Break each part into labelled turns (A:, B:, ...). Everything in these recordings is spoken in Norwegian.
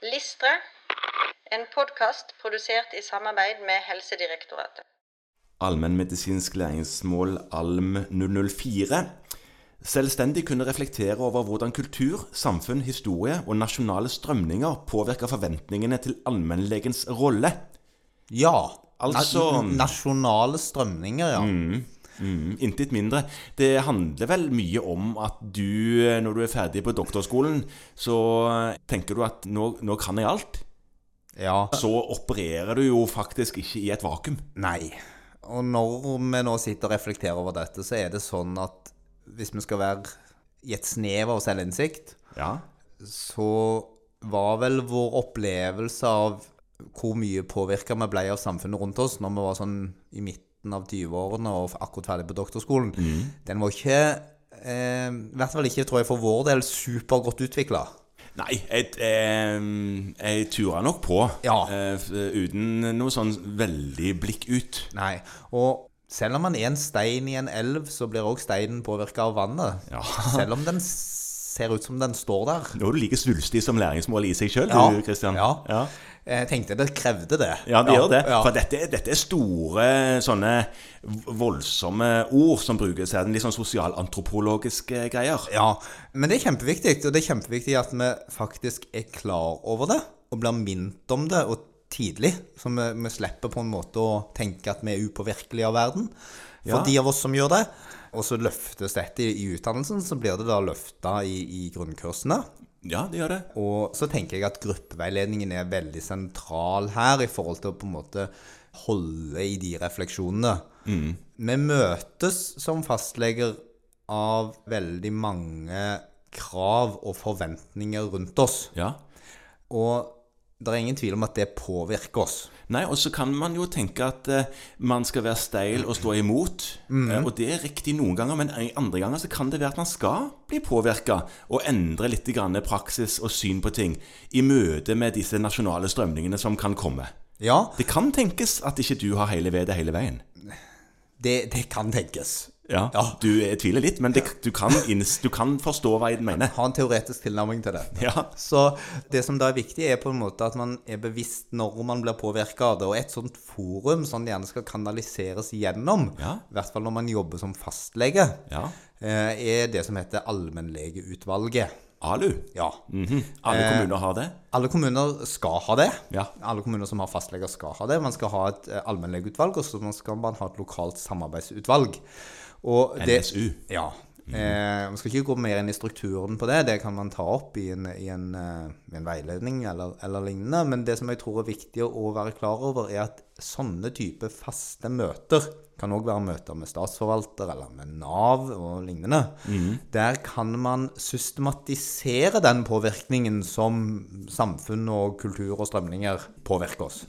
A: Listre, en podkast produsert i samarbeid med Helsedirektoratet.
B: Allmennmedisinsk læringsmål ALM 004. Selvstendig kunne reflektere over hvordan kultur, samfunn, historie og nasjonale strømninger påvirker forventningene til allmennlegens rolle.
C: Ja.
B: Altså-
C: na Nasjonale strømninger, ja.
B: Mm, Intet mindre. Det handler vel mye om at du, eh, når du er ferdig på doktorskolen, så eh, tenker du at nå, nå kan jeg alt.
C: ja.
B: Så opererer du jo faktisk ikke i et vakuum.
C: Nei. Og når vi nå sitter og reflekterer over dette, så er det sånn at hvis vi skal være i et snev av selvinnsikt,
B: Ja.
C: så var vel vår opplevelse av hvor mye påvirka vi ble av samfunnet rundt oss når vi var sånn i midten av 20-årene og akkurat ferdig på doktorskolen,
B: Mm.
C: den var ikke eh, I hvert fall ikke, tror jeg, for vår del supergodt utvikla.
B: Nei, jeg, eh, jeg turer nok på
C: Ja.
B: eh, f- uten noe sånn veldig blikk ut.
C: Nei. Og selv om man er en stein i en elv, så blir òg steinen påvirka av vannet.
B: Ja.
C: Selv om den ser ut som den står der.
B: Nå er du like svulstig som læringsmålet i seg sjøl,
C: Ja.
B: du, Kristian.
C: Ja.
B: ja.
C: Jeg tenkte det krevde det.
B: Ja, det gjør det.
C: Ja.
B: For dette, dette er store, sånne voldsomme ord som brukes her. Litt sånn sosialantropologiske greier.
C: Ja, men det er kjempeviktig, og det er kjempeviktig at vi faktisk er klar over det, og blir minnet om det, og tidlig, så vi, vi slipper på en måte å tenke at vi er upåvirkelige av verden, for
B: Ja.
C: de av oss som gjør det, og så løftes dette i, i utdannelsen, så blir det da løftet i, i grunnkursene,
B: Ja, det gjør det.
C: og så tenker jeg at gruppeveiledningen er veldig sentral her i forhold til å på en måte holde i de refleksjonene. Vi møtes som fastleger av veldig mange krav og forventninger rundt oss.
B: Ja.
C: Og det er ingen tvil om at det påvirker oss.
B: Nei, og så kan man jo tenke at eh, man skal være steil og stå imot. Eh, og det er riktig noen ganger, men i andre ganger så kan det være at man skal bli påvirka og endre litt grann praksis og syn på ting i møte med disse nasjonale strømningene som kan komme.
C: Ja,
B: Det kan tenkes at ikke du har hele vedet hele veien.
C: det, det kan tenkes.
B: Ja,
C: Ja.
B: du eh, tviler litt, men det, du, kan inns, du kan forstå hva jeg mener.
C: Ha en teoretisk tilnærming til det.
B: Ja.
C: Så det som da er viktig, er på en måte at man er bevisst når man blir påvirka av det. Og et sånt forum som det gjerne skal kanaliseres gjennom,
B: Ja.
C: i hvert fall når man jobber som fastlege,
B: Ja.
C: eh, er det som heter allmennlegeutvalget.
B: Alu.
C: Ja.
B: Mhm. Alle kommuner har det.
C: Alle kommuner skal ha det.
B: Ja.
C: Alle kommuner som har fastleger skal ha det. Man skal ha et eh, allmennlegeutvalg, og så man skal man ha et lokalt samarbeidsutvalg. Og det-
B: NSU.
C: Ja. Eh, man skal ikke gå mer inn i strukturen på det, det kan man ta opp i en, i en, eh, i en veiledning eller, eller lignende. Men det som jeg tror er viktig å- å være klar over, er at sånne type faste møter kan òg være møter med statsforvalter eller med Nav og lignende. Der kan man systematisere den påvirkningen som samfunn og kultur og strømninger påvirker oss.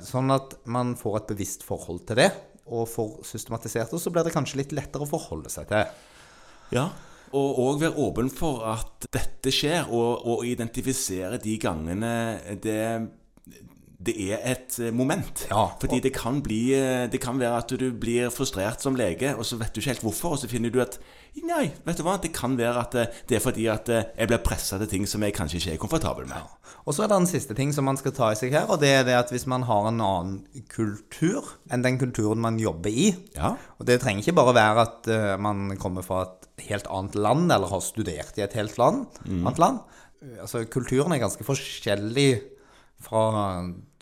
C: Sånn at man får et bevisst forhold til det, og får systematisert det, så blir det kanskje litt lettere å forholde seg til.
B: Ja. Og òg være åpen for at dette skjer, og, og identifisere de gangene det, det er et eh, moment.
C: Ja.
B: Fordi det kan, bli, eh, det kan være at du blir frustrert som lege, og så vet du ikke helt hvorfor, og så finner du at Nei, vet du hva, det kan være at eh, det er fordi at eh, jeg blir pressa til ting som jeg kanskje ikke er komfortabel med.
C: Og så er det en siste ting som man skal ta i seg her, og det er det at hvis man har en annen kultur enn den kulturen man jobber i,
B: Ja.
C: og det trenger ikke bare være at eh, man kommer fra et helt annet land, eller har studert i et helt land, annet land. Eh, Altså, kulturen er ganske forskjellig fra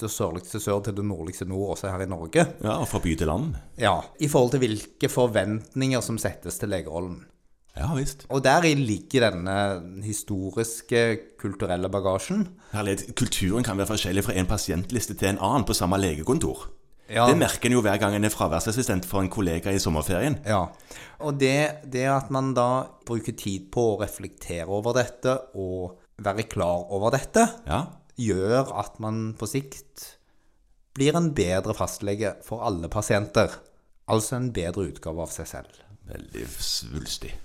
C: det sørligste sør til det nordligste nord, også her i Norge.
B: ja. Og fra by til land.
C: Ja, i forhold til hvilke forventninger som settes til legerollen.
B: Ja visst.
C: Og deri ligger denne historiske, kulturelle bagasjen.
B: Herlighet, Kulturen kan være forskjellig fra en pasientliste til en annen på samme legekontor.
C: Ja.
B: Det merker en jo hver gang en er fraværsassistent for en kollega i sommerferien.
C: Ja. Og det, det at man da bruker tid på å reflektere over dette og være klar over dette,
B: Ja,
C: gjør at man på sikt blir en bedre fastlege for alle pasienter. Altså en bedre utgave av seg selv.
B: Veldig svulstig.